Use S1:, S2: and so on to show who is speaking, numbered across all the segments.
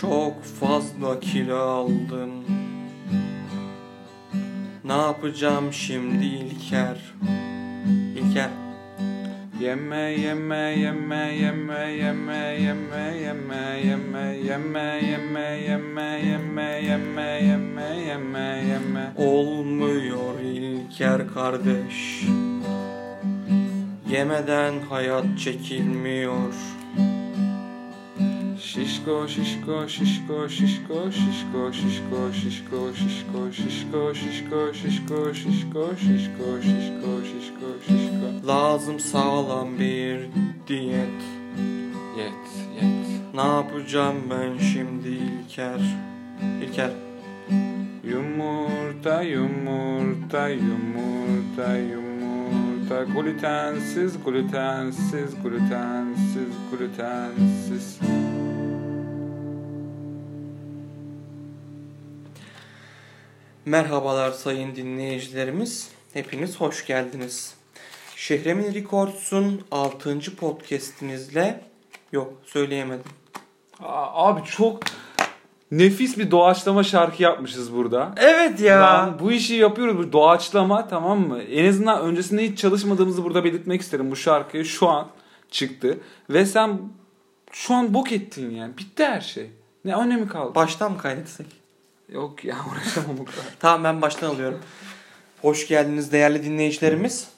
S1: Çok fazla kilo aldım Ne yapacağım şimdi İlker İlker
S2: Yeme yeme yeme yeme yeme yeme yeme yeme yeme yeme yeme yeme yeme yeme yeme yeme
S1: Olmuyor İlker kardeş Yemeden hayat çekilmiyor
S2: Şişko şişko şişko şişko şişko şişko şişko şişko şişko şişko şişko şişko şişko şişko şişko şişko
S1: Lazım sağlam bir diyet
S2: Yet yet
S1: Ne yapacağım ben şimdi İlker İlker
S2: Yumurta yumurta yumurta yumurta glutensiz glutensiz glutensiz glutensiz
S1: Merhabalar sayın dinleyicilerimiz. Hepiniz hoş geldiniz. Şehremin Records'un 6. podcast'inizle yok söyleyemedim.
S2: Aa, abi çok nefis bir doğaçlama şarkı yapmışız burada.
S1: Evet ya.
S2: Lan bu işi yapıyoruz bu doğaçlama tamam mı? En azından öncesinde hiç çalışmadığımızı burada belirtmek isterim. Bu şarkı şu an çıktı ve sen şu an bok ettin yani. Bitti her şey. Ne önemi kaldı?
S1: Baştan mı kaydetsek?
S2: Yok ya uğraşamam bu kadar.
S1: Tamam ben baştan alıyorum. Hoş geldiniz değerli dinleyicilerimiz.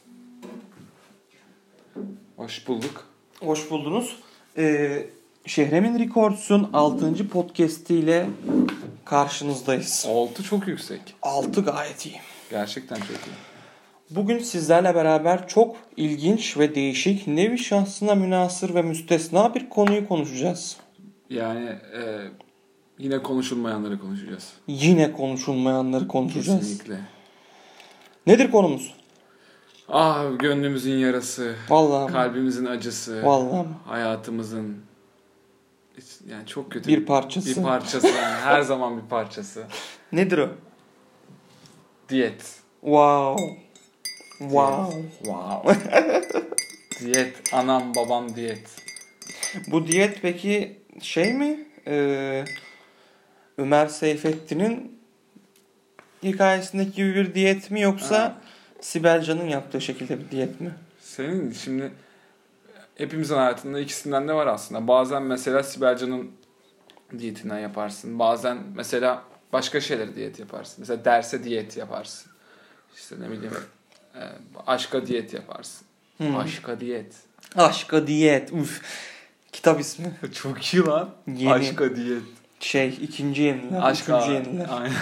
S2: Hoş bulduk.
S1: Hoş buldunuz. Ee, Şehremin Records'un 6. podcast'iyle karşınızdayız.
S2: 6 çok yüksek.
S1: 6 gayet iyi.
S2: Gerçekten çok iyi.
S1: Bugün sizlerle beraber çok ilginç ve değişik, nevi şahsına münasır ve müstesna bir konuyu konuşacağız.
S2: Yani e, yine konuşulmayanları konuşacağız.
S1: Yine konuşulmayanları konuşacağız.
S2: Kesinlikle.
S1: Nedir konumuz?
S2: Ah gönlümüzün yarası,
S1: Vallahi
S2: kalbimizin acısı,
S1: vallahi
S2: hayatımızın yani çok kötü
S1: bir parçası.
S2: bir parçası yani her zaman bir parçası.
S1: Nedir o?
S2: Diyet.
S1: Wow. Wow.
S2: Wow. diyet. Anam babam diyet.
S1: Bu diyet peki şey mi? Ee, Ömer Seyfettin'in hikayesindeki gibi bir diyet mi yoksa
S2: Ha.
S1: Sibel Can'ın yaptığı şekilde bir diyet mi?
S2: Senin şimdi e, hepimizin hayatında ikisinden de var aslında. Bazen mesela Sibel Can'ın diyetinden yaparsın. Bazen mesela başka şeyler diyet yaparsın. Mesela derse diyet yaparsın. İşte ne bileyim e, aşka diyet yaparsın.
S1: Hmm.
S2: Aşka diyet.
S1: Aşka diyet. Uf. Kitap ismi.
S2: Çok iyi lan.
S1: Yeni.
S2: Aşka diyet.
S1: Şey ikinci yeniler.
S2: Aşka.
S1: üçüncü yeniler.
S2: Aynen.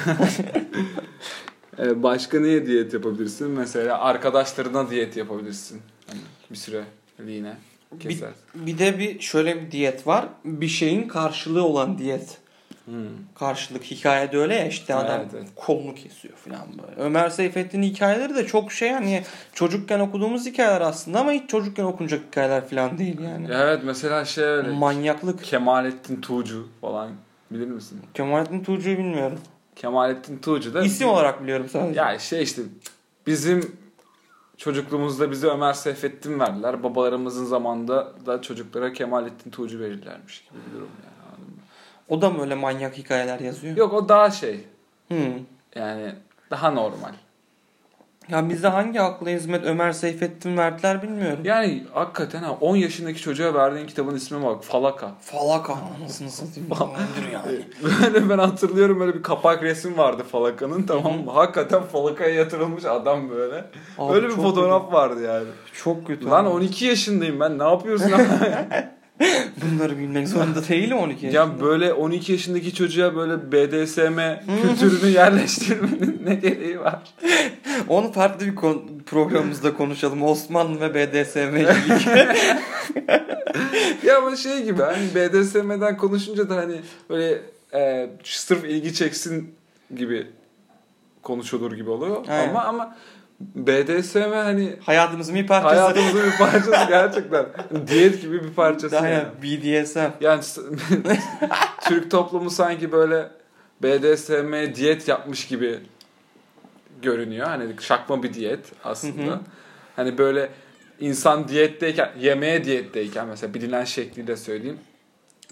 S2: E, başka neye diyet yapabilirsin? Mesela arkadaşlarına diyet yapabilirsin. Hani bir süre liğine keser.
S1: Bir de bir şöyle bir diyet var. Bir şeyin karşılığı olan diyet.
S2: Hmm.
S1: karşılık hikayede öyle ya işte adam
S2: Evet, evet.
S1: kolunu kesiyor falan böyle. Ömer Seyfettin'in hikayeleri de çok şey hani çocukken okuduğumuz hikayeler aslında ama hiç çocukken okunacak hikayeler falan değil yani.
S2: Evet mesela şey öyle.
S1: Manyaklık.
S2: Kemalettin Tuğcu falan bilir misin?
S1: Kemalettin Tuğcu'yu bilmiyorum.
S2: Kemalettin Tuğcu da
S1: İsim olarak biliyorum sadece.
S2: ya şey işte bizim çocukluğumuzda bize Ömer Seyfettin verdiler. Babalarımızın zamanında da çocuklara Kemalettin Tuğcu verirlermiş gibi bir durum yani. anladın mı?
S1: O da mı öyle manyak hikayeler yazıyor?
S2: Yok o daha şey
S1: Hmm.
S2: yani daha normal.
S1: Ya bizde hangi akla hizmet Ömer Seyfettin verdiler bilmiyorum.
S2: Yani hakikaten ha 10 yaşındaki çocuğa verdiğin kitabın ismi bak Falaka.
S1: Falaka anasını satayım. Öldür yani.
S2: Böyle ben hatırlıyorum böyle bir kapak resim vardı Falaka'nın tamam mı? Hakikaten Falaka'ya yatırılmış adam böyle.
S1: Abi
S2: Öyle bir
S1: çok
S2: fotoğraf vardı yani.
S1: kötü. Çok kötü.
S2: Lan
S1: abi.
S2: 12 yaşındayım ben ne yapıyorsun?
S1: Bunları bilmek zorunda değilim 12 yaşında.
S2: ya böyle 12 yaşındaki çocuğa böyle BDSM
S1: Hmm.
S2: kültürünü yerleştirmenin ne gereği var?
S1: Onu farklı bir kon- programımızda konuşalım. Osmanlı ve BDSM ilgili.
S2: ya bu şey gibi hani BDSM'den konuşunca da hani böyle e, sırf ilgi çeksin gibi konuşulur gibi oluyor.
S1: Aynen.
S2: Ama ama BDSM hani
S1: Hayatımızın bir parçası.
S2: hayatımızın bir parçası gerçekten. Diyet gibi bir parçası.
S1: Daha
S2: yani.
S1: ya, BDSM.
S2: Yani s- Türk toplumu sanki böyle BDSM diyet yapmış gibi görünüyor. Hani şakma bir diyet aslında.
S1: Hı hı.
S2: Hani böyle insan diyetteyken, yemeğe diyetteyken mesela bilinen şekliyle söyleyeyim.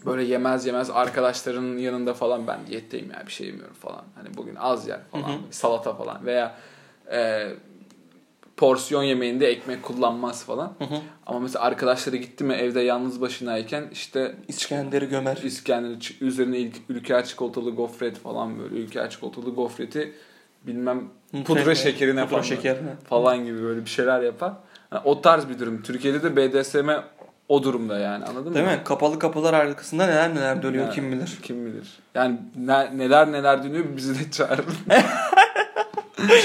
S2: Böyle yemez yemez arkadaşlarının yanında falan ben diyetteyim ya bir şey yemiyorum falan. Hani bugün az yer falan.
S1: Hı hı.
S2: Salata falan veya e, porsiyon yemeğinde ekmek kullanmaz falan.
S1: Hı hı.
S2: Ama mesela arkadaşları gitti mi evde yalnız başınayken işte
S1: İskender'i gömer.
S2: İskender ç- üzerine ilk ülker çikolatalı gofret falan böyle ülker çikolatalı gofreti bilmem pudra şekerine
S1: Pudra
S2: falan.
S1: şekerine.
S2: falan gibi böyle bir şeyler yapar. Yani o tarz bir durum. Türkiye'de de BDSM o durumda yani anladın
S1: Değil
S2: mı?
S1: mi? Kapalı kapılar arkasında neler neler dönüyor
S2: Yani,
S1: kim bilir.
S2: Kim bilir. Yani ne- neler neler dönüyor bizi de çağırın.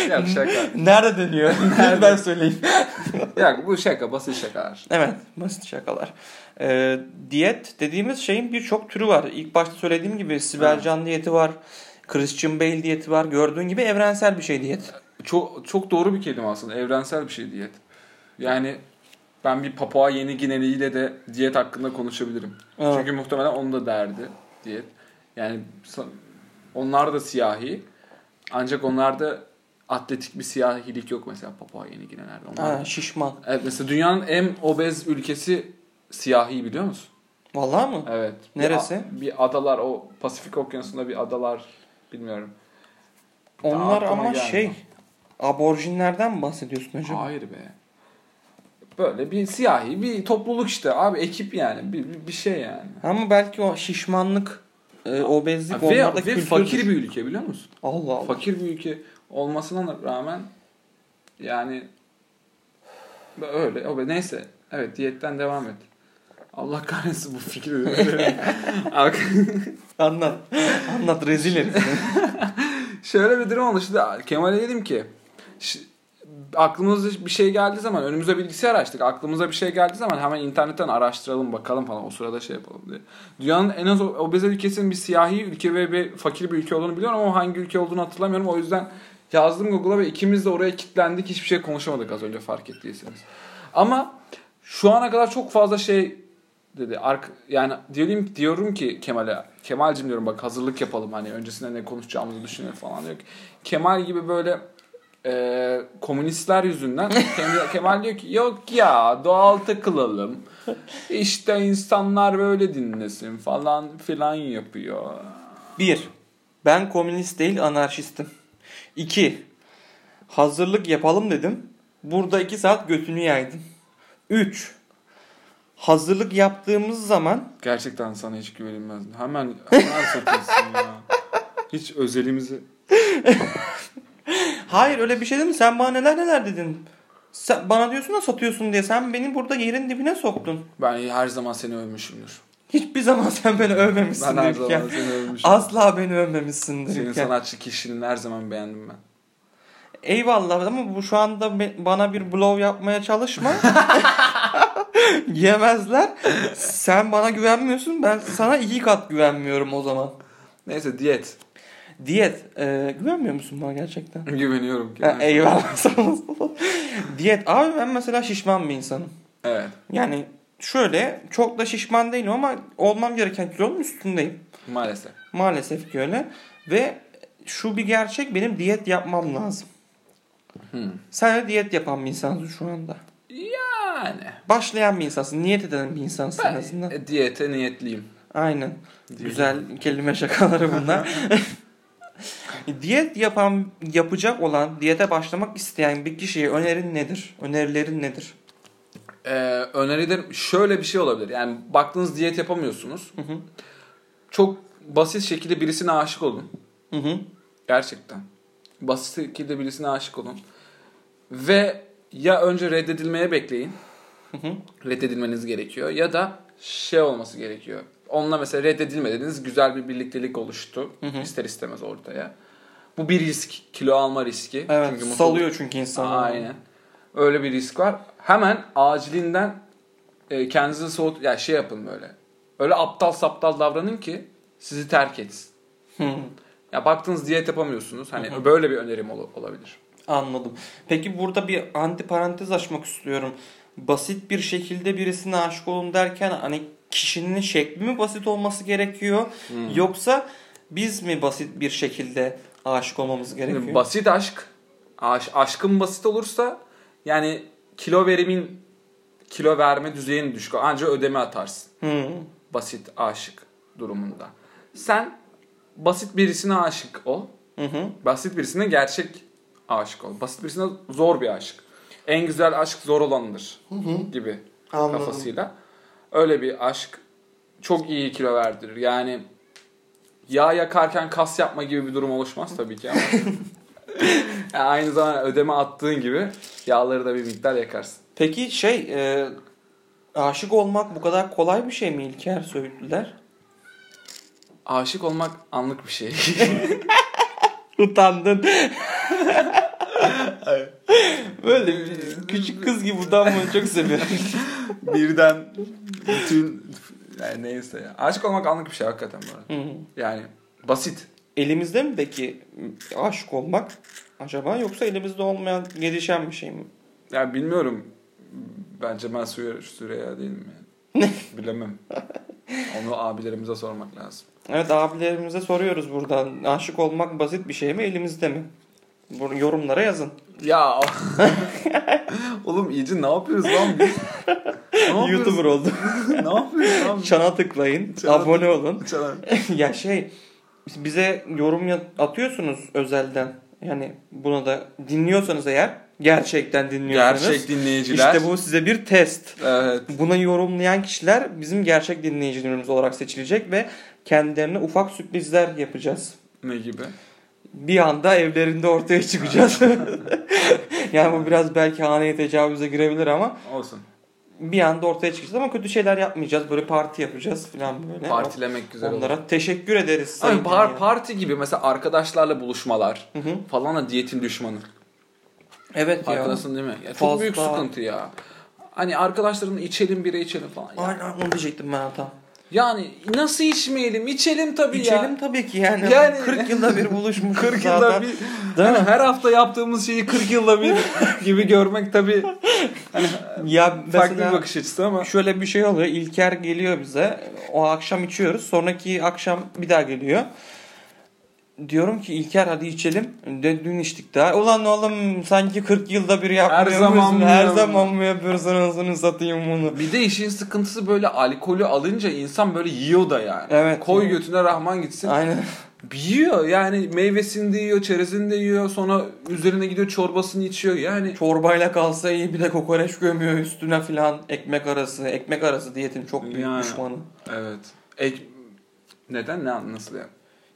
S2: Yok şaka.
S1: Nerede dönüyor?
S2: Nerede?
S1: ben söyleyeyim.
S2: Yok bu şaka basit şakalar.
S1: Evet, basit şakalar. Ee, diyet dediğimiz şeyin birçok türü var. İlk başta söylediğim gibi Sibel
S2: Evet.
S1: Can diyeti var. Christian Bale diyeti var. Gördüğün gibi evrensel bir şey diyet.
S2: Çok, çok doğru bir kelime aslında. Evrensel bir şey diyet. Yani ben bir Papua Yeni Gineli'yle de diyet hakkında konuşabilirim.
S1: Evet.
S2: Çünkü muhtemelen onu da derdi diyet. Yani sa- onlar da siyahi. Ancak onlarda atletik bir siyahilik yok mesela Papua Yeni Gineler'de. Onlar...
S1: Ha, şişman.
S2: Evet mesela dünyanın en obez ülkesi siyahi biliyor musun?
S1: Vallahi mı?
S2: Evet.
S1: Neresi?
S2: Bir, a- bir adalar o Pasifik Okyanusu'nda bir adalar bilmiyorum.
S1: Onlar
S2: aklıma
S1: ama
S2: gelmiyor.
S1: şey aborjinlerden mi bahsediyorsun hocam?
S2: Hayır be. Böyle bir siyahi bir topluluk işte abi ekip yani bir, bir- bir şey yani.
S1: Ama belki o şişmanlık, e, obezlik
S2: Ve,
S1: onlarda
S2: ve
S1: kül
S2: fakir
S1: fakir.
S2: bir ülke biliyor musun?
S1: Allah Allah.
S2: Fakir bir ülke olmasına rağmen yani öyle. öyle. Neyse. Evet diyetten devam et. Allah kahretsin bu fikri. Arka-
S1: Anlat. Anlat rezil herif.
S2: Şöyle bir durum oluştu. Kemal'e dedim ki "Ş- aklımıza bir şey geldiği zaman önümüze bilgisayar açtık. Aklımıza bir şey geldiği zaman hemen internetten araştıralım bakalım falan o sırada şey yapalım diye. Dünyanın en az obez ülkesinin bir siyahi ülke ve bir fakir bir ülke olduğunu biliyorum ama hangi ülke olduğunu hatırlamıyorum. O yüzden yazdım Google'a ve ikimiz de oraya kilitlendik. Hiçbir şey konuşamadık az önce fark ettiyseniz. Ama şu ana kadar çok fazla şey dedi. Ark, yani diyelim diyorum ki Kemal'e Kemal'cim diyorum bak hazırlık yapalım hani öncesinde ne konuşacağımızı düşünelim falan diyor ki Kemal gibi böyle e, komünistler yüzünden Kemal, Kemal diyor ki yok ya doğal takılalım işte insanlar böyle dinlesin falan filan yapıyor.
S1: Bir, ben komünist değil anarşistim. İki, hazırlık yapalım dedim. Burada iki saat götünü yaydın. Üç, hazırlık yaptığımız zaman
S2: Gerçekten sana hiç güvenilmez. Hemen, hemen satıyorsun ya. Hiç özelimizi
S1: hayır öyle bir şey değil mi? Sen bana neler neler dedin. Sen, bana diyorsun da satıyorsun diye. Sen beni burada yerin dibine soktun.
S2: ben her zaman seni övmüşümdür.
S1: Hiçbir zaman sen beni
S2: Ben her
S1: övmemişsindir
S2: zaman
S1: İlker.
S2: seni övmüşümdür.
S1: Asla beni övmemişsindir
S2: Senin
S1: İlker.
S2: sanatçı kişiliğini her zaman beğendim ben.
S1: Eyvallah ama bu şu anda be- bana bir blow yapmaya çalışma. Yemezler. Sen bana güvenmiyorsun. Ben sana iki kat güvenmiyorum o zaman.
S2: Neyse diyet.
S1: Diyet. e, güvenmiyor musun bana gerçekten?
S2: Güveniyorum ki.
S1: Ha, eyvallah. Sağ olasın. Diyet. Abi ben mesela şişman bir insanım.
S2: Evet.
S1: Yani şöyle çok da şişman değilim ama olmam gereken kilonun üstündeyim.
S2: Maalesef.
S1: Maalesef ki öyle. Ve şu bir gerçek benim diyet yapmam lazım.
S2: Hmm.
S1: Sen de diyet yapan bir insansın şu anda.
S2: Yani.
S1: Başlayan bir insansın, niyet eden bir insansın
S2: Ben
S1: en azından.
S2: e, diyete niyetliyim.
S1: Aynen.
S2: Diyelim.
S1: Güzel kelime şakaları bunlar. diyet yapan, yapacak olan, diyete başlamak isteyen bir kişiye önerin nedir? Önerilerin nedir?
S2: Ee, önerilerim şöyle bir şey olabilir. Yani baktığınız diyet yapamıyorsunuz.
S1: Hı hı.
S2: Çok basit şekilde birisine aşık olun.
S1: Hı hı.
S2: Gerçekten. Basit şekilde birisine aşık olun. Ve ya önce reddedilmeye bekleyin.
S1: Hı hı.
S2: reddedilmeniz gerekiyor ya da şey olması gerekiyor. Onunla mesela reddedilmediniz güzel bir birliktelik oluştu
S1: Hı hı.
S2: ister istemez ortaya. Bu bir risk, kilo alma riski.
S1: Evet,
S2: mutluluk-
S1: salıyor çünkü insan.
S2: Aynen. Öyle bir risk var. Hemen acilinden e, kendinizi soğut ya şey yapın böyle. Öyle aptal saptal davranın ki sizi terk etsin.
S1: Hı.
S2: Ya baktınız diyet yapamıyorsunuz. Hani
S1: Hı hı.
S2: böyle bir önerim ol- olabilir.
S1: Anladım. Peki burada bir anti parantez açmak istiyorum. Basit bir şekilde birisine aşık olun derken hani kişinin şekli mi basit olması gerekiyor yoksa biz mi basit bir şekilde aşık olmamız gerekiyor?
S2: Basit aşk. Aş, aşkın basit olursa yani kilo verimin kilo verme düzeyini düşük. Anca ödeme atarsın.
S1: Hı.
S2: basit aşık durumunda. Sen basit birisine aşık ol.
S1: Hı hı.
S2: Basit birisine gerçek aşık ol. Basit birisine zor bir aşık. En güzel aşk zor olanıdır gibi
S1: Anladım.
S2: kafasıyla. Öyle bir aşk çok iyi kilo verdirir. Yani yağ yakarken kas yapma gibi bir durum oluşmaz tabii ki ama. Yani aynı zamanda ödeme attığın gibi yağları da bir miktar yakarsın.
S1: Peki şey e, aşık olmak bu kadar kolay bir şey mi İlker Söğütlüler?
S2: Aşık olmak anlık bir şey.
S1: Utandın. Böyle bir küçük kız gibi utanmayı çok seviyorum.
S2: Birden bütün yani neyse ya. Aşık olmak anlık bir şey hakikaten bu arada.
S1: Hı hı.
S2: Yani basit.
S1: Elimizde mi peki aşık olmak acaba yoksa elimizde olmayan gelişen bir şey mi?
S2: Yani bilmiyorum. Bence ben Süre- Süreyya değilim yani. Bilemem. Onu abilerimize sormak lazım.
S1: Evet abilerimize soruyoruz buradan. Aşık olmak basit bir şey mi elimizde mi? Bunu yorumlara yazın.
S2: Ya oğlum iyice ne yapıyoruz lan biz? Ne yapıyoruz?
S1: YouTuber oldu.
S2: ne yapıyoruz lan? biz?
S1: Çana tıklayın.
S2: Çana
S1: abone olun.
S2: Çalan.
S1: ya şey bize yorum ya- atıyorsunuz özelden. Yani buna da dinliyorsanız eğer gerçekten dinliyorsanız.
S2: Gerçek dinleyiciler.
S1: İşte bu size bir test.
S2: Evet.
S1: Buna yorumlayan kişiler bizim gerçek dinleyicilerimiz olarak seçilecek ve kendilerine ufak sürprizler yapacağız.
S2: Ne gibi?
S1: Bir anda evlerinde ortaya çıkacağız. yani bu biraz belki haneye tecavüze girebilir ama
S2: Olsun.
S1: bir anda ortaya çıkacağız ama kötü şeyler yapmayacağız. Böyle parti yapacağız falan böyle.
S2: Partilemek güzel olur.
S1: Onlara teşekkür ederiz.
S2: Abi
S1: sayın
S2: par-
S1: dinleyen.
S2: parti gibi mesela arkadaşlarla buluşmalar
S1: Hı hı.
S2: falan da diyetin düşmanı.
S1: Evet ya.
S2: Farkındasın değil mi? Ya çok
S1: Fazla.
S2: büyük sıkıntı ya. Hani arkadaşların içelim bira içelim falan. Ya.
S1: Aynen onu diyecektim ben tam.
S2: Yani nasıl içmeyelim? İçelim tabii
S1: İçelim
S2: ya.
S1: tabii ki yani.
S2: Yani-
S1: 40 yılda bir buluşmuşuz
S2: 40
S1: zaten.
S2: yılda bir
S1: Değil mi?
S2: hani her hafta yaptığımız şeyi 40 yılda bir gibi görmek tabii
S1: Ya
S2: farklı bir
S1: mesela-
S2: bakış açısı ama
S1: Şöyle bir şey oluyor. İlker geliyor bize. O akşam içiyoruz. Sonraki akşam bir daha geliyor. Diyorum ki İlker hadi içelim. De, dün içtik daha. Ulan oğlum sanki 40 yılda bir yapmıyoruz. Her
S2: zaman
S1: zaman
S2: mı
S1: mı, her
S2: ya?
S1: zaman mı yapıyoruz anasını satayım bunu.
S2: bir de işin sıkıntısı böyle alkolü alınca insan böyle yiyor da yani.
S1: Evet.
S2: Koy
S1: Evet.
S2: götüne rahman gitsin.
S1: Aynen.
S2: Yiyor yani meyvesini de yiyor, çerezini de yiyor. Sonra üzerine gidiyor çorbasını içiyor. Yani
S1: Çorbayla kalsa iyi bir de kokoreç gömüyor üstüne filan. Ekmek arası. Ekmek arası diyetin çok büyük
S2: Yani.
S1: düşmanı.
S2: evet. Ek... Neden ne nasıl yani?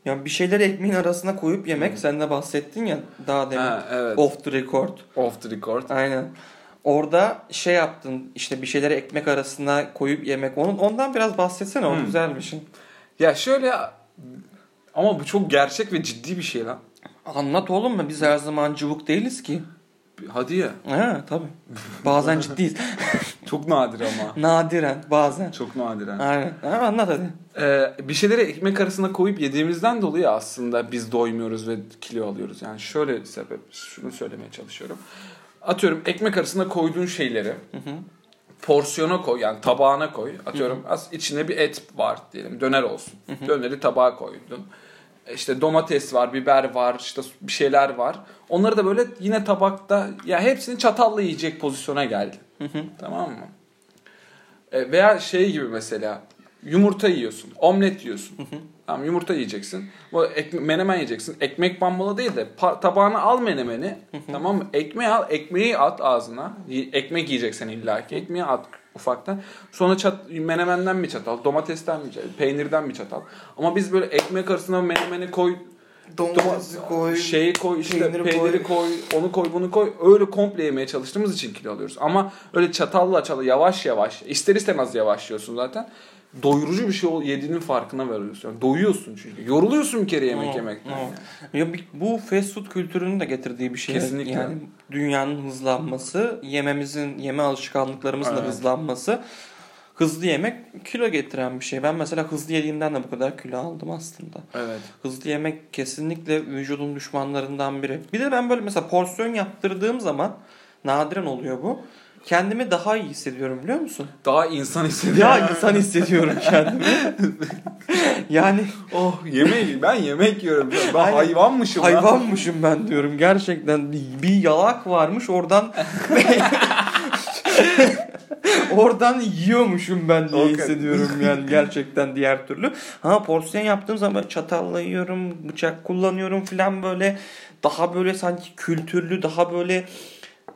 S1: Ya bir şeyleri ekmeğin arasına koyup yemek. Sen de bahsettin ya daha demin.
S2: Ha, evet.
S1: Off the record.
S2: Off the record.
S1: Aynen. Orada şey yaptın işte bir şeyleri ekmek arasına koyup yemek. Onun ondan biraz bahsetsene o
S2: Hmm.
S1: güzelmişin.
S2: Ya şöyle ama bu çok gerçek ve ciddi bir şey lan.
S1: Anlat oğlum mu? Biz her zaman cıvık değiliz ki.
S2: Hadi ya.
S1: He tabii. Bazen ciddiyiz.
S2: Çok nadir ama.
S1: Nadiren bazen.
S2: Çok nadiren.
S1: Aynen. Ha, anlat hadi.
S2: Ee, bir şeyleri ekmek arasına koyup yediğimizden dolayı aslında biz doymuyoruz ve kilo alıyoruz. Yani şöyle sebep, şunu söylemeye çalışıyorum. Atıyorum ekmek arasına koyduğun şeyleri porsiyona koy yani tabağına koy. Atıyorum az içinde bir et var diyelim döner olsun. Döneri tabağa koydun. İşte domates var, biber var, işte bir şeyler var. Onları da böyle yine tabakta ya hepsini çatalla yiyecek pozisyona geldi. Tamam mı? E, veya şey gibi mesela yumurta yiyorsun, omlet yiyorsun. Tamam yumurta yiyeceksin. Bu ekme- menemen yiyeceksin. Ekmek banmalı değil de pa- tabağına al menemeni. tamam mı? Ekmeği al, ekmeği at ağzına. Y- Ekmek yiyeceksin illaki. Ekmeği at ufaktan. Sonra çat menemenden mi çatal, domatesten mi çatal, peynirden mi çatal? Ama biz böyle ekmek arasına menemeni koy, Domatesi
S1: koy.
S2: şeyi Şey koy işte
S1: peyniri
S2: peyniri, koy. onu koy bunu koy öyle komple yemeye çalıştığımız için kilo alıyoruz ama öyle çatalla çatalla yavaş yavaş ister istemez yavaşlıyorsun zaten doyurucu bir şey ol- yediğinin farkına varıyorsun Yani doyuyorsun çünkü yoruluyorsun bir kere yemek
S1: Hmm,
S2: yemekten yani.
S1: Ya bir- bu fast food kültürünün de getirdiği bir şey.
S2: Kesinlikle.
S1: Yani dünyanın hızlanması, yememizin, yeme alışkanlıklarımızın da
S2: Evet.
S1: hızlanması. Hızlı yemek kilo getiren bir şey. Ben mesela hızlı yediğimden de bu kadar kilo aldım aslında.
S2: evet
S1: Hızlı yemek kesinlikle vücudun düşmanlarından biri. Bir de ben böyle mesela porsiyon yaptırdığım zaman nadiren oluyor bu. Kendimi daha iyi hissediyorum biliyor musun?
S2: daha insan hissediyor
S1: Daha insan hissediyorum kendimi. yani
S2: oh yemek ben yemek yiyorum ben
S1: Aynen.
S2: hayvanmışım lan.
S1: hayvanmışım ben diyorum. Gerçekten bir bir yalak varmış oradan Oradan yiyormuşum ben diye
S2: Okey.
S1: hissediyorum yani gerçekten diğer türlü. Ha porsiyon yaptığım zaman çatalla yiyorum, bıçak kullanıyorum falan böyle. Daha böyle sanki kültürlü, daha böyle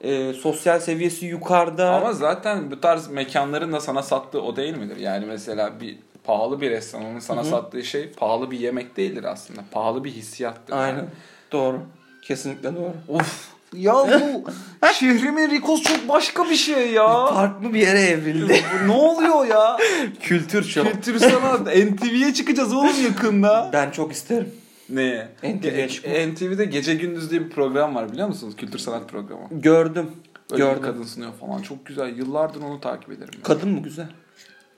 S1: e, sosyal seviyesi yukarıda.
S2: Ama zaten bu tarz mekanların da sana sattığı o değil midir? Yani mesela bir pahalı bir restoranın sana
S1: Hı hı.
S2: sattığı şey pahalı bir yemek değildir aslında. Pahalı bir hissiyattır.
S1: Aynen. Doğru. Kesinlikle doğru.
S2: Of. Ya bu şehrimin Rikos çok başka bir şey ya.
S1: Farklı bir yere evrildi.
S2: ne oluyor ya?
S1: Kültür şovu.
S2: Kültür sanat. NTV'ye çıkacağız oğlum yakında.
S1: Ben çok isterim.
S2: Neye?
S1: NTV.
S2: Ge- NTV'de Gece Gündüz diye bir program var biliyor musunuz? Kültür sanat programı.
S1: Gördüm.
S2: Öyle bir
S1: Gördüm.
S2: kadın sunuyor falan. Çok güzel. Yıllardır onu takip ederim. ya.
S1: Kadın mı güzel?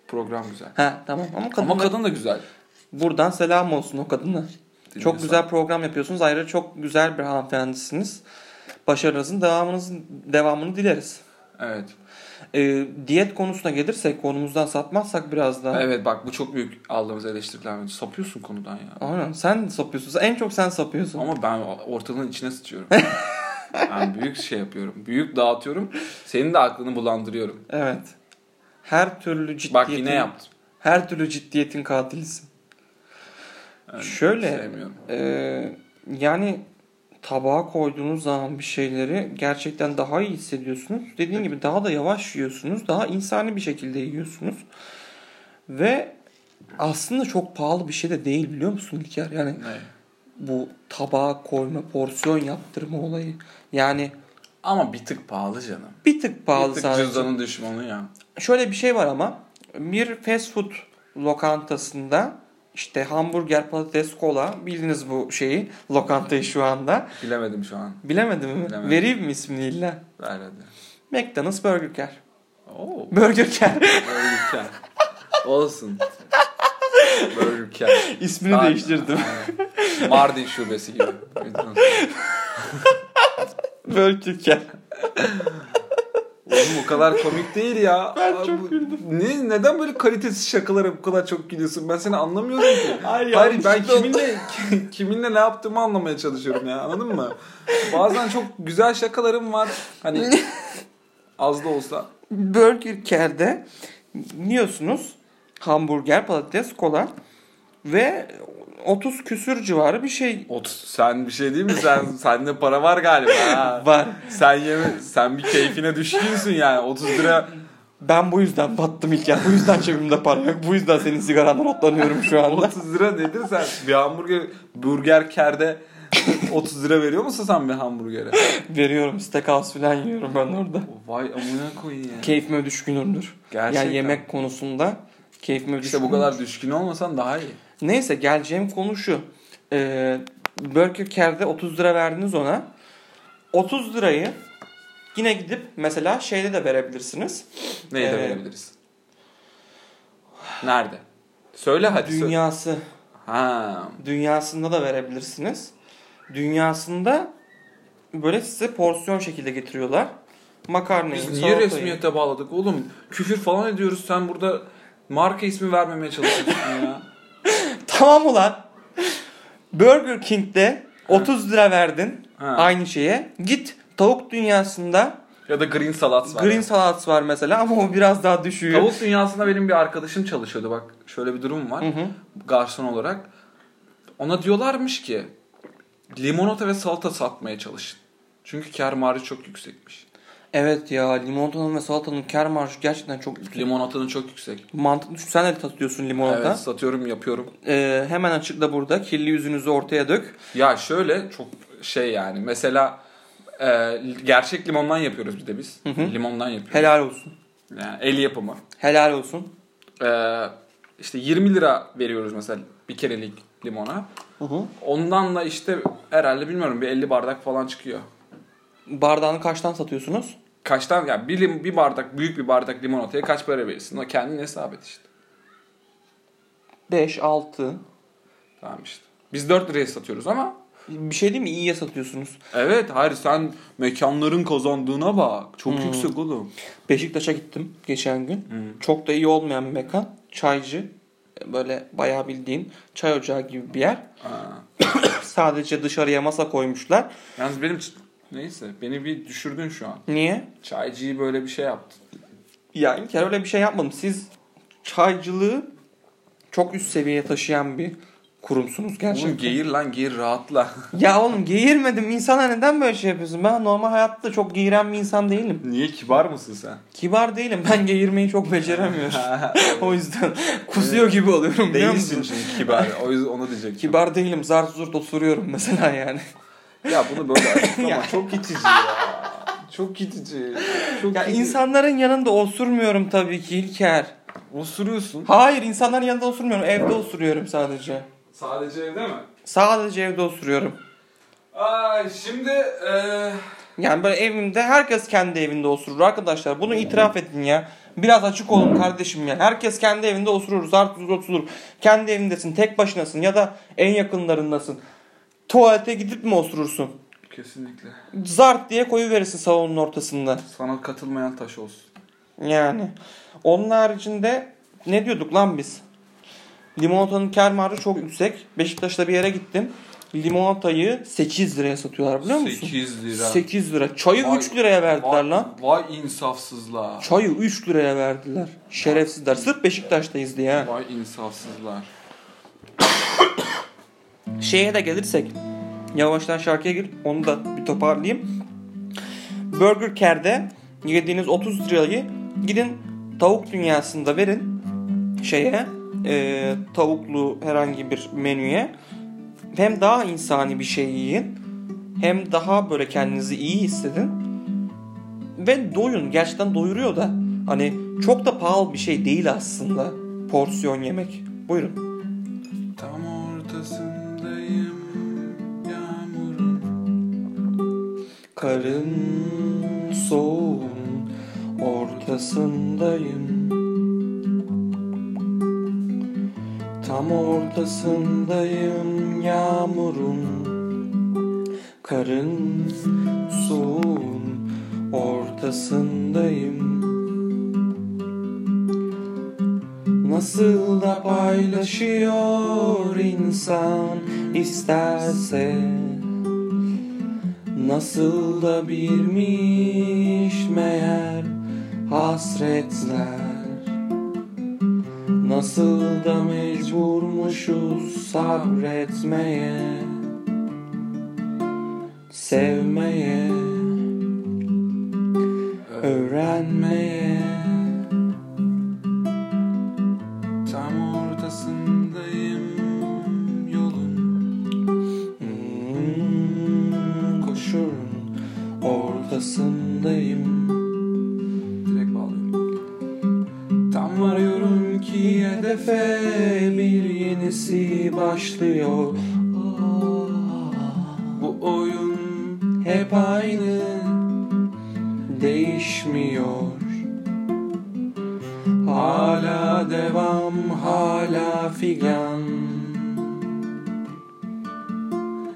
S2: Program güzel.
S1: Ha tamam ama kadın.
S2: Ama kadın da güzel.
S1: Buradan selam olsun o kadına. Çok
S2: Dinliyorsan.
S1: güzel program yapıyorsunuz. Ayrıca çok güzel bir hanımefendisiniz. Başarınızın devamınızın devamını dileriz.
S2: Evet.
S1: Ee, diyet konusuna gelirsek konumuzdan sapmazsak biraz daha.
S2: Evet bak bu çok büyük aldığımız eleştiriler. Sapıyorsun konudan ya.
S1: Aynen. Sen sapıyorsun. En çok sen sapıyorsun.
S2: Ama ben ortalığın içine sıçıyorum. ben büyük şey yapıyorum. Büyük dağıtıyorum. Senin de aklını bulandırıyorum.
S1: Evet. Her türlü ciddiyetin.
S2: Bak yine yaptım.
S1: Her türlü ciddiyetin katilisin.
S2: Evet,
S1: Şöyle.
S2: Sevmiyorum.
S1: Ee, yani tabağa koyduğunuz zaman bir şeyleri gerçekten daha iyi hissediyorsunuz. Dediğim gibi daha da yavaş yiyorsunuz. Daha insani bir şekilde yiyorsunuz. Ve aslında çok pahalı bir şey de değil biliyor musun İlker? Yani
S2: Ne?
S1: bu tabağa koyma, porsiyon yaptırma olayı. Yani
S2: Ama bir tık pahalı canım.
S1: bir tık pahalı
S2: bir tık
S1: sadece.
S2: cüzdanın düşmanı ya.
S1: Şöyle bir şey var ama bir fast food lokantasında işte hamburger, patates, kola bildiniz bu şeyi lokantayı şu anda.
S2: Bilemedim şu an.
S1: Bilemedim mi?
S2: Bilemedim.
S1: Vereyim mi ismini illa?
S2: Ver hadi.
S1: McDonald's Burger King.
S2: Oo.
S1: Burger King.
S2: Burger King. Olsun. Burger King.
S1: İsmini
S2: Aynen,
S1: değiştirdim.
S2: aynen. Mardin şubesi gibi.
S1: Burger King.
S2: Oğlum o kadar komik değil ya.
S1: Ben
S2: Abi
S1: çok
S2: bu- Ne, neden böyle kalitesiz şakalara bu kadar çok gülüyorsun? Ben seni anlamıyorum ki.
S1: Ay,
S2: Hayır ben
S1: yanlışlıkla
S2: kiminle kiminle ne yaptığımı anlamaya çalışıyorum ya. Anladın mı? Bazen çok güzel şakalarım var. Hani az da olsa.
S1: Burger King'de yiyorsunuz hamburger, patates, kola ve 30 küsür civarı bir şey
S2: Ot, sen bir şey değil mi? Sen sende para var galiba. ha.
S1: var.
S2: Sen yeme, sen bir keyfine düşkünsün yani. 30 lira
S1: Ben bu yüzden battım İlker. Bu yüzden cebimde para yok. Bu yüzden senin sigarandan otlanıyorum şu anda.
S2: 30 lira nedir sen? Bir hamburger burger kerde 30 lira veriyor musun sen bir hamburgere?
S1: Veriyorum steakhouse falan yiyorum ben orada.
S2: Vay amına koyayım ya.
S1: Keyfime düşkünümdür.
S2: Gerçekten.
S1: Yani yemek konusunda keyfime
S2: İşte
S1: düşkünüm.
S2: bu kadar düşkün olmasan daha iyi.
S1: Neyse geleceğim konu şu. Ee, Burger King'de 30 lira verdiniz ona. 30 lirayı yine gidip mesela şeyde de verebilirsiniz.
S2: Neyi de
S1: Ee,
S2: verebiliriz? Nerede? Söyle hadi. Söyle.
S1: Dünyası.
S2: Ha.
S1: Dünyasında da verebilirsiniz. Dünyasında böyle size porsiyon şekilde getiriyorlar. Makarnayı,
S2: Biz niye
S1: salatayı.
S2: resmiyete bağladık oğlum? Küfür falan ediyoruz. Sen burada marka ismi vermemeye çalışıyorsun ya.
S1: Tamam ulan. Burger King'de 30 lira verdin
S2: Ha.
S1: aynı şeye. Git tavuk dünyasında
S2: Ya da green salat var.
S1: green salat var mesela ama o biraz daha düşüyor.
S2: Tavuk dünyasında benim bir arkadaşım çalışıyordu. Bak şöyle bir durum var.
S1: Hı hı.
S2: Garson olarak. Ona diyorlarmış ki limonata ve salata satmaya çalışın. Çünkü kar marjı çok yüksekmiş.
S1: Evet ya limonatanın ve salatanın kar marjı gerçekten çok yüksek.
S2: Limonatanın çok yüksek.
S1: Mantıklı çünkü sen de satıyorsun limonata.
S2: Evet satıyorum yapıyorum.
S1: Ee, hemen açıkla burada. Kirli yüzünüzü ortaya dök.
S2: Ya şöyle çok şey yani mesela e, gerçek limondan yapıyoruz bir de biz. Limondan yapıyoruz.
S1: Helal olsun.
S2: Yani el yapımı.
S1: Helal olsun.
S2: E, işte 20 lira veriyoruz mesela bir kerelik limona. Ondan da işte herhalde bilmiyorum bir 50 bardak falan çıkıyor.
S1: Bardağını kaçtan satıyorsunuz?
S2: Kaçtan yani bir, lim- bir bardak büyük bir bardak limonataya kaç para verirsin? O kendin hesap et işte.
S1: 5, 6.
S2: Tamam işte. Biz 4 liraya satıyoruz ama
S1: Bir şey değil mi? İyiye satıyorsunuz.
S2: evet hayır sen mekanların kazandığına bak. Çok yüksek oğlum.
S1: Beşiktaş'a gittim geçen gün. Çok da iyi olmayan bir mekan. Çaycı. Böyle bayağı bildiğin çay ocağı gibi bir yer.
S2: Aa.
S1: Sadece dışarıya masa koymuşlar.
S2: Yalnız benim neyse beni bir düşürdün şu an.
S1: Niye?
S2: Çaycıyı böyle bir şey yaptın.
S1: Ya İlker öyle bir şey yapmadım. Siz çaycılığı çok üst seviyeye taşıyan bir kurumsunuz gerçekten.
S2: Oğlum geğir lan geğir rahatla.
S1: Ya oğlum geğirmedim. İnsana neden böyle şey yapıyorsun? Ben normal hayatta çok geğiren bir insan değilim.
S2: Niye kibar mısın sen?
S1: Kibar değilim. Ben geğirmeyi çok beceremiyorum. o yüzden kusuyor gibi oluyorum biliyor
S2: Değilsin
S1: musun?
S2: çünkü kibar. O yüzden onu diyecek.
S1: Kibar değilim. Zart zurt osuruyorum mesela yani.
S2: Ya bunu böyle açıklama
S1: Ya.
S2: çok itici ya. Çok itici. Çok
S1: Ya
S2: itici.
S1: insanların yanında osurmuyorum tabii ki İlker.
S2: Osuruyorsun.
S1: Hayır insanların yanında osurmuyorum. Evde osuruyorum sadece.
S2: Sadece evde mi?
S1: Sadece evde osuruyorum.
S2: Aa, şimdi e, eee,
S1: Yani böyle evimde herkes kendi evinde osurur arkadaşlar. Bunu itiraf edin ya. Biraz açık olun kardeşim ya. Herkes kendi evinde osurur. Zart zurt osurur. Kendi evindesin, tek başınasın ya da en yakınlarındasın. Tuvalete gidip mi osurursun?
S2: kesinlikle.
S1: Zart diye koyu verirsin salonun ortasında.
S2: Sana katılmayan taş olsun.
S1: Yani. Onun haricinde ne diyorduk lan biz? Limonatanın kar marjı çok yüksek. Beşiktaş'ta bir yere gittim. Limonatayı 8 liraya satıyorlar biliyor musun?
S2: 8 lira.
S1: 8 lira. Çayı
S2: Vay-
S1: 3 liraya verdiler
S2: vay,
S1: lan.
S2: Vay insafsızlar.
S1: Çayı 3 liraya verdiler. Şerefsizler. Sırf Beşiktaş'tayız diye. ha.
S2: Vay insafsızlar.
S1: Şeye de gelirsek. Yavaştan şarkıya gir. Onu da bir toparlayayım. Burger Care'de yediğiniz 30 lirayı gidin tavuk dünyasında verin. Şeye e, tavuklu herhangi bir menüye. Hem daha insani bir şey yiyin. Hem daha böyle kendinizi iyi hissedin. Ve doyun. Gerçekten doyuruyor da. Hani çok da pahalı bir şey değil aslında. Porsiyon yemek. Buyurun.
S2: Tam ortasındayım yağmurun.
S1: Karın soğuğun ortasındayım Tam ortasındayım yağmurun Karın soğuğun ortasındayım Nasıl da paylaşıyor insan isterse Nasıl da birmiş meğer hasretler Nasıl da mecburmuşuz sabretmeye Sevmeye Öğrenmeye
S2: Tam ortasındayım yolun.
S1: Hmm, Koşurum ortasındayım
S2: Direkt bağlıyorum. Tam varıyorum ki hedefe
S1: bir yenisi başlıyor Ah.
S2: bu oyun
S1: hep aynı değişmiyor Hala devam hala figan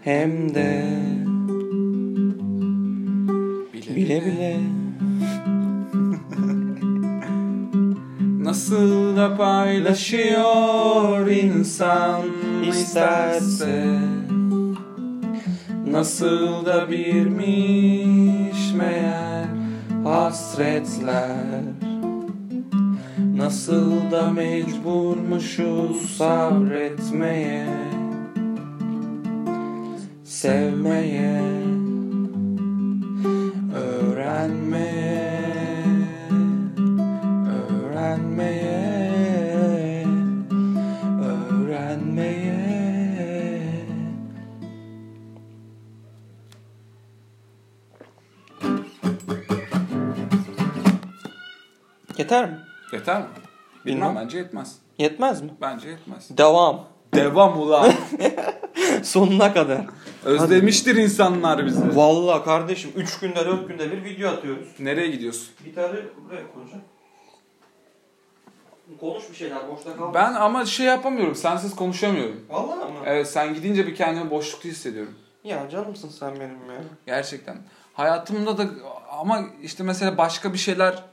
S1: Hem de
S2: bile
S1: bile bile
S2: Nasıl da paylaşıyor insan isterse
S1: Nasıl da birmiş meğer hasretler Nasıl da mecburmuşuz sabretmeye Sevmeye Öğrenmeye Öğrenmeye Öğrenmeye Yeter mi?
S2: Yeter mi? Bilmem
S1: Bilmem.
S2: bence yetmez.
S1: Yetmez mi?
S2: Bence yetmez.
S1: Devam.
S2: Devam ulan.
S1: Sonuna kadar.
S2: Özlemiştir insanlar bizi.
S1: Vallahi kardeşim 3 günde 4 günde bir video atıyoruz.
S2: Nereye gidiyorsun?
S1: Gitarı buraya koyacağım. Konuş bir şeyler boşta kalma.
S2: Ben ama şey yapamıyorum. Sensiz konuşamıyorum.
S1: Vallahi ama.
S2: Evet sen gidince bir kendimi boşlukta hissediyorum.
S1: Ya canımsın sen benim ya.
S2: Gerçekten. Hayatımda da ama işte mesela başka bir şeyler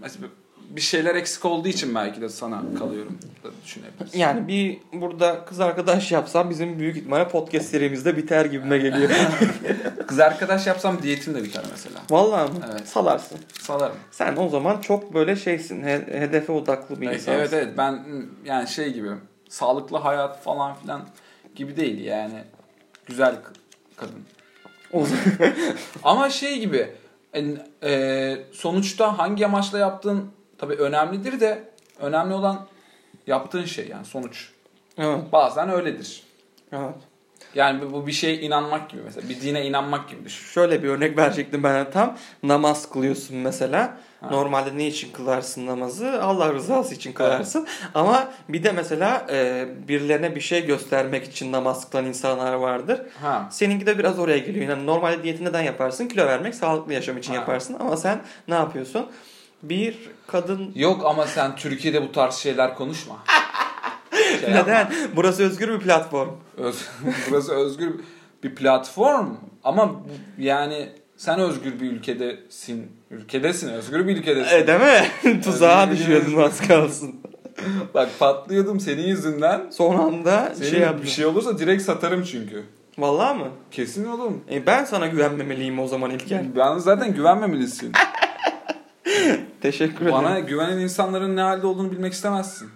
S2: mesela bir şeyler eksik olduğu için belki de sana kalıyorum da düşünebilirsin.
S1: Yani bir burada kız arkadaş yapsam bizim büyük ihtimalle podcast serimizde biter gibime geliyor.
S2: Kız arkadaş yapsam diyetim de biter mesela.
S1: Vallahi mı?
S2: Evet.
S1: Salarsın.
S2: Salarım.
S1: Sen o zaman çok böyle şeysin. he- hedefe odaklı bir
S2: Evet,
S1: insansın.
S2: evet evet ben hı, yani şey gibi sağlıklı hayat falan filan gibi değil yani güzel k- kadın.
S1: O zaman-
S2: Ama şey gibi en- e, sonuçta hangi amaçla yaptığın tabii önemlidir de önemli olan yaptığın şey yani sonuç.
S1: evet.
S2: Bazen öyledir.
S1: evet.
S2: Yani bu- bu bir şeye inanmak gibi mesela bir dine inanmak gibi düşün.
S1: Şöyle bir örnek verecektim ben tam. Namaz kılıyorsun mesela.
S2: Ha.
S1: Normalde ne için kılarsın namazı? Allah rızası için kılarsın. Ama bir de mesela e, birilerine bir şey göstermek için namaz kılan insanlar vardır.
S2: Ha.
S1: Seninki de biraz oraya geliyor. Yani normalde diyeti neden yaparsın? Kilo vermek, sağlıklı yaşam için
S2: Ha.
S1: yaparsın. Ama sen ne yapıyorsun? Bir kadın...
S2: Yok ama sen Türkiye'de bu tarz şeyler konuşma. Şey yapma.
S1: Neden? Burası özgür bir platform.
S2: Öz- Burası özgür bir platform ama bu- yani sen özgür bir ülkedesin. Ülkedesin, özgür bir ülkedesin.
S1: E, değil mi? Tuzağa
S2: şey.
S1: düşüyordun az kalsın.
S2: Bak patlıyordum senin yüzünden.
S1: Son anda
S2: Senin
S1: şey yaptın.
S2: bir şey olursa direkt satarım çünkü.
S1: Vallahi mı?
S2: Kesin oğlum.
S1: E, ben sana güvenmemeliyim o zaman İlker.
S2: Ben zaten güvenmemelisin.
S1: Teşekkür
S2: Bana
S1: ederim.
S2: güvenen insanların ne halde olduğunu bilmek istemezsin.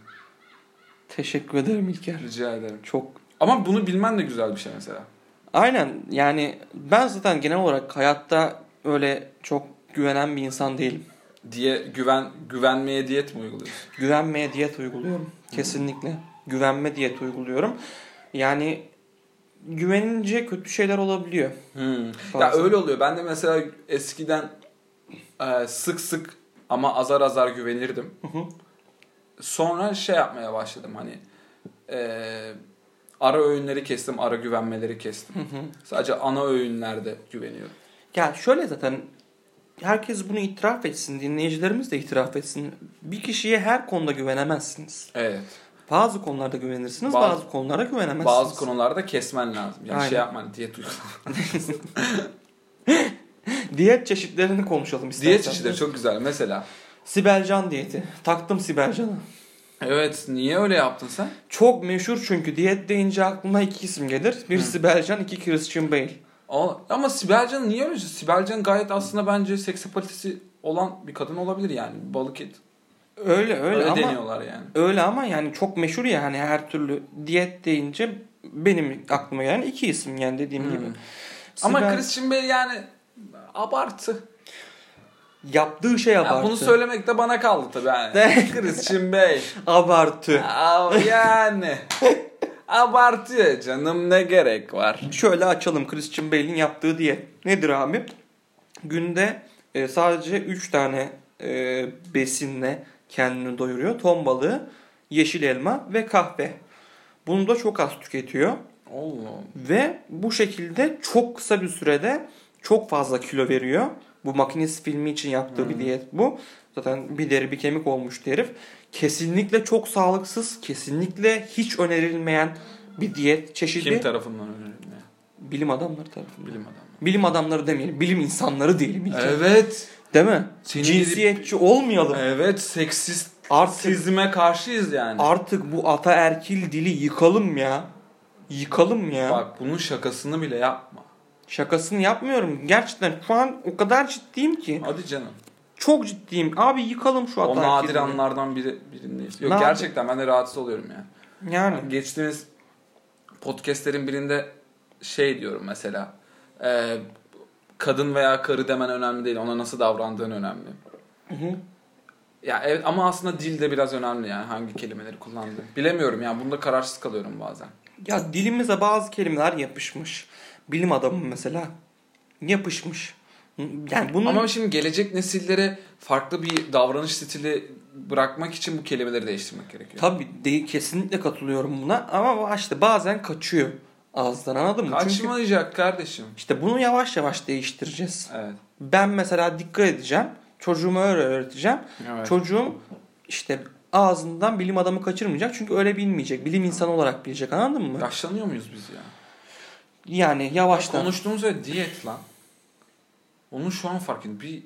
S1: Teşekkür ederim İlker.
S2: Rica ederim.
S1: Çok.
S2: Ama bunu bilmen de güzel bir şey mesela.
S1: Aynen yani ben zaten genel olarak hayatta öyle çok güvenen bir insan değilim.
S2: Diye güven güvenmeye diyet mi uyguluyorsun?
S1: Güvenmeye diyet uyguluyorum. Kesinlikle. Güvenme diyet uyguluyorum. Yani güvenince kötü şeyler olabiliyor.
S2: Hmm. Ya
S1: Bazen.
S2: öyle oluyor. Ben de mesela eskiden e, sık sık ama azar azar güvenirdim.
S1: hı.
S2: Sonra şey yapmaya başladım hani e, ara öğünleri kestim, ara güvenmeleri kestim. Sadece ana öğünlerde güveniyorum.
S1: Ya şöyle zaten herkes bunu itiraf etsin, dinleyicilerimiz de itiraf etsin. Bir kişiye her konuda güvenemezsiniz.
S2: Evet.
S1: Bazı konularda güvenirsiniz,
S2: Bazı-
S1: bazı, konulara güvenemezsiniz.
S2: Bazı konularda kesmen lazım. Yani şey
S1: Aynen.
S2: yapman diyet uygulaman.
S1: Diyet çeşitlerini konuşalım istersen.
S2: Diyet çeşitleri çok güzel. Mesela
S1: Sibelcan diyeti. Taktım Sibelcan'ı.
S2: evet niye öyle yaptın sen?
S1: Çok meşhur çünkü diyet deyince aklıma iki isim gelir. Bir Sibelcan, iki Christian Bale.
S2: O- Ama Sibelcan niye öyle? Sibelcan gayet aslında bence seksapalitesi olan bir kadın olabilir yani. Balık et.
S1: Öyle öyle,
S2: Öyle,
S1: ama
S2: deniyorlar yani.
S1: öyle ama yani çok meşhur ya hani her türlü diyet deyince benim aklıma gelen iki isim yani dediğim
S2: Hmm.
S1: gibi.
S2: Ama
S1: Sibel-
S2: Christian Bale yani abartı.
S1: yaptığı şey
S2: Ya
S1: abartı.
S2: bunu söylemek de bana kaldı tabii yani.
S1: De-
S2: Christian Bale.
S1: abartı.
S2: Aa, yani. Abartı canım ne gerek var?
S1: Şöyle açalım Christian Bale'in yaptığı diyet. Nedir abi? Günde e, sadece 3 tane e, besinle kendini doyuruyor. Ton balığı, yeşil elma ve kahve. Bunu da çok az tüketiyor.
S2: Oğlum.
S1: Ve bu şekilde çok kısa bir sürede çok fazla kilo veriyor. Bu makinesi filmi için yaptığı
S2: Hmm.
S1: bir diyet bu. Zaten bir deri bir kemik olmuş herif. Kesinlikle çok sağlıksız, kesinlikle hiç önerilmeyen bir diyet çeşidi.
S2: Kim tarafından önerildi?
S1: bilim adamları tarafından.
S2: Bilim adamı.
S1: Bilim adamları demeyelim, bilim insanları diyelim ilk.
S2: Evet.
S1: Değil mi?
S2: Senin-
S1: Cinsiyetçi olmayalım.
S2: Evet seksist.
S1: Artık
S2: Sizime karşıyız yani.
S1: artık bu ataerkil dili yıkalım ya. Yıkalım ya.
S2: Bak bunun şakasını bile yapma.
S1: Şakasını yapmıyorum. Gerçekten şu an o kadar ciddiyim ki.
S2: Hadi canım.
S1: Çok ciddiyim. Abi yıkalım şu
S2: O
S1: hata
S2: nadir
S1: kirliliğini.
S2: anlardan biri, birindeyiz. Yok
S1: Nadir.
S2: gerçekten ben de rahatsız oluyorum yani.
S1: Yani.
S2: Geçtiğimiz podcastlerin birinde şey diyorum mesela. e, kadın veya karı demen önemli değil. Ona nasıl davrandığın önemli.
S1: hı.
S2: Ya evet ama aslında dil de biraz önemli yani hangi kelimeleri kullandığın. Bilemiyorum yani bunda kararsız kalıyorum bazen.
S1: Ya dilimize bazı kelimeler yapışmış. Bilim adamı mesela. Yapışmış. Yani bunun
S2: Ama şimdi gelecek nesillere farklı bir davranış stili bırakmak için bu kelimeleri değiştirmek gerekiyor.
S1: tabii de, kesinlikle katılıyorum buna ama işte bazen kaçıyor ağızdan anladın mı? Çünkü
S2: Kaçmayacak kardeşim.
S1: işte bunu yavaş yavaş değiştireceğiz.
S2: Evet.
S1: Ben mesela dikkat edeceğim. Çocuğuma öyle öğreteceğim.
S2: evet.
S1: Çocuğum işte ağzından bilim adamı kaçırmayacak çünkü öyle bilmeyecek. Bilim insanı olarak bilecek anladın mı?
S2: Yaşlanıyor muyuz biz ya?
S1: Yani yavaştan.
S2: Konuştuğumuz öyle diyet lan. Onun şu an farkında. Bir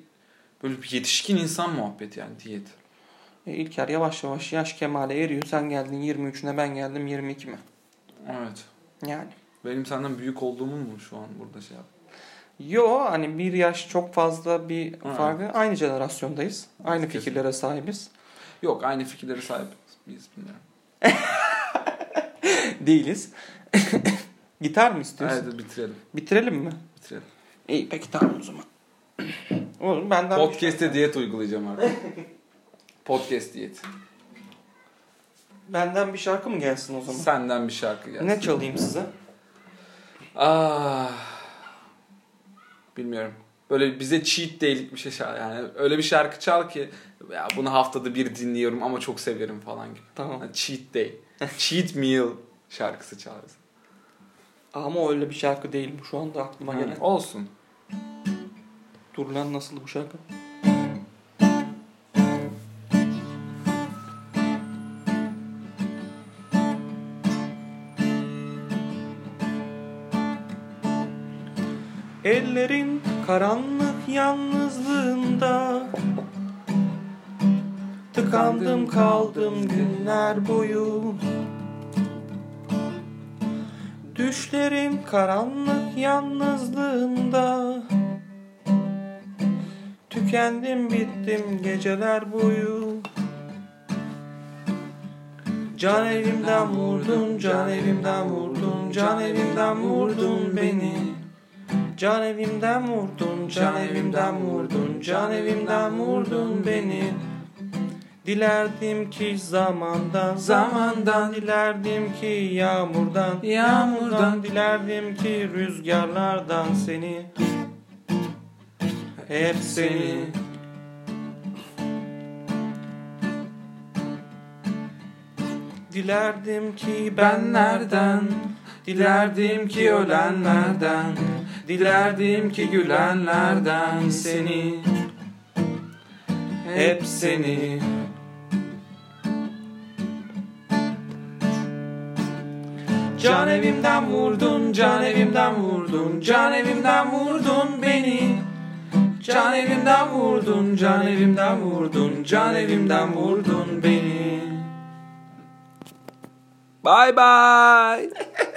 S2: böyle bir yetişkin insan muhabbeti yani diyet.
S1: E, İlker yavaş yavaş yaş kemale eriyor. Sen geldin 23'üne ben geldim 22'me.
S2: Evet.
S1: Yani.
S2: Benim senden büyük olduğumu mu şu an burada şey yap?
S1: Yo hani bir yaş çok fazla bir
S2: Ha.
S1: farkı. Aynı jenerasyondayız. Aynı
S2: Kesin.
S1: fikirlere sahibiz.
S2: Yok aynı fikirlere sahip miyiz bilmiyorum.
S1: Değiliz. Gitar mı istiyorsun?
S2: Hadi bitirelim.
S1: Bitirelim mi?
S2: Bitirelim.
S1: İyi peki tamam o zaman. Oğlum benden bir şey-
S2: Podcast'e diyet uygulayacağım artık. Podcast diyeti.
S1: benden bir şarkı mı gelsin o zaman?
S2: Senden bir şarkı gelsin.
S1: Ne çalayım size?
S2: Ah. Bilmiyorum. Böyle bize cheat day'lik bir şey çal. Yani öyle bir şarkı çal ki ya bunu haftada bir dinliyorum ama çok severim falan gibi.
S1: Tamam.
S2: Yani Hani cheat day. cheat meal şarkısı çalarız.
S1: Ama öyle bir şarkı değil bu şu anda aklıma
S2: Hı,
S1: gelen.
S2: Olsun.
S1: Dur lan nasıl bu şarkı? Ellerin karanlık yalnızlığında Tıkandım kaldım günler boyu Düşlerin karanlık yalnızlığında Tükendim bittim geceler boyu Can evimden vurdun, can evimden vurdun, can evimden vurdun beni Can evimden vurdun, can evimden vurdun, can evimden vurdun beni Dilerdim ki zamandan,
S2: Zamandan.
S1: Dilerdim ki yağmurdan,
S2: Yağmurdan.
S1: Dilerdim ki rüzgarlardan seni Hep seni Dilerdim ki benlerden Dilerdim ki ölenlerden Dilerdim ki gülenlerden seni Hep seni Can evimden vurdun, can evimden vurdun, can evimden vurdun beni Can evimden vurdun, can evimden vurdun, can evimden vurdun beni
S2: Bye bye.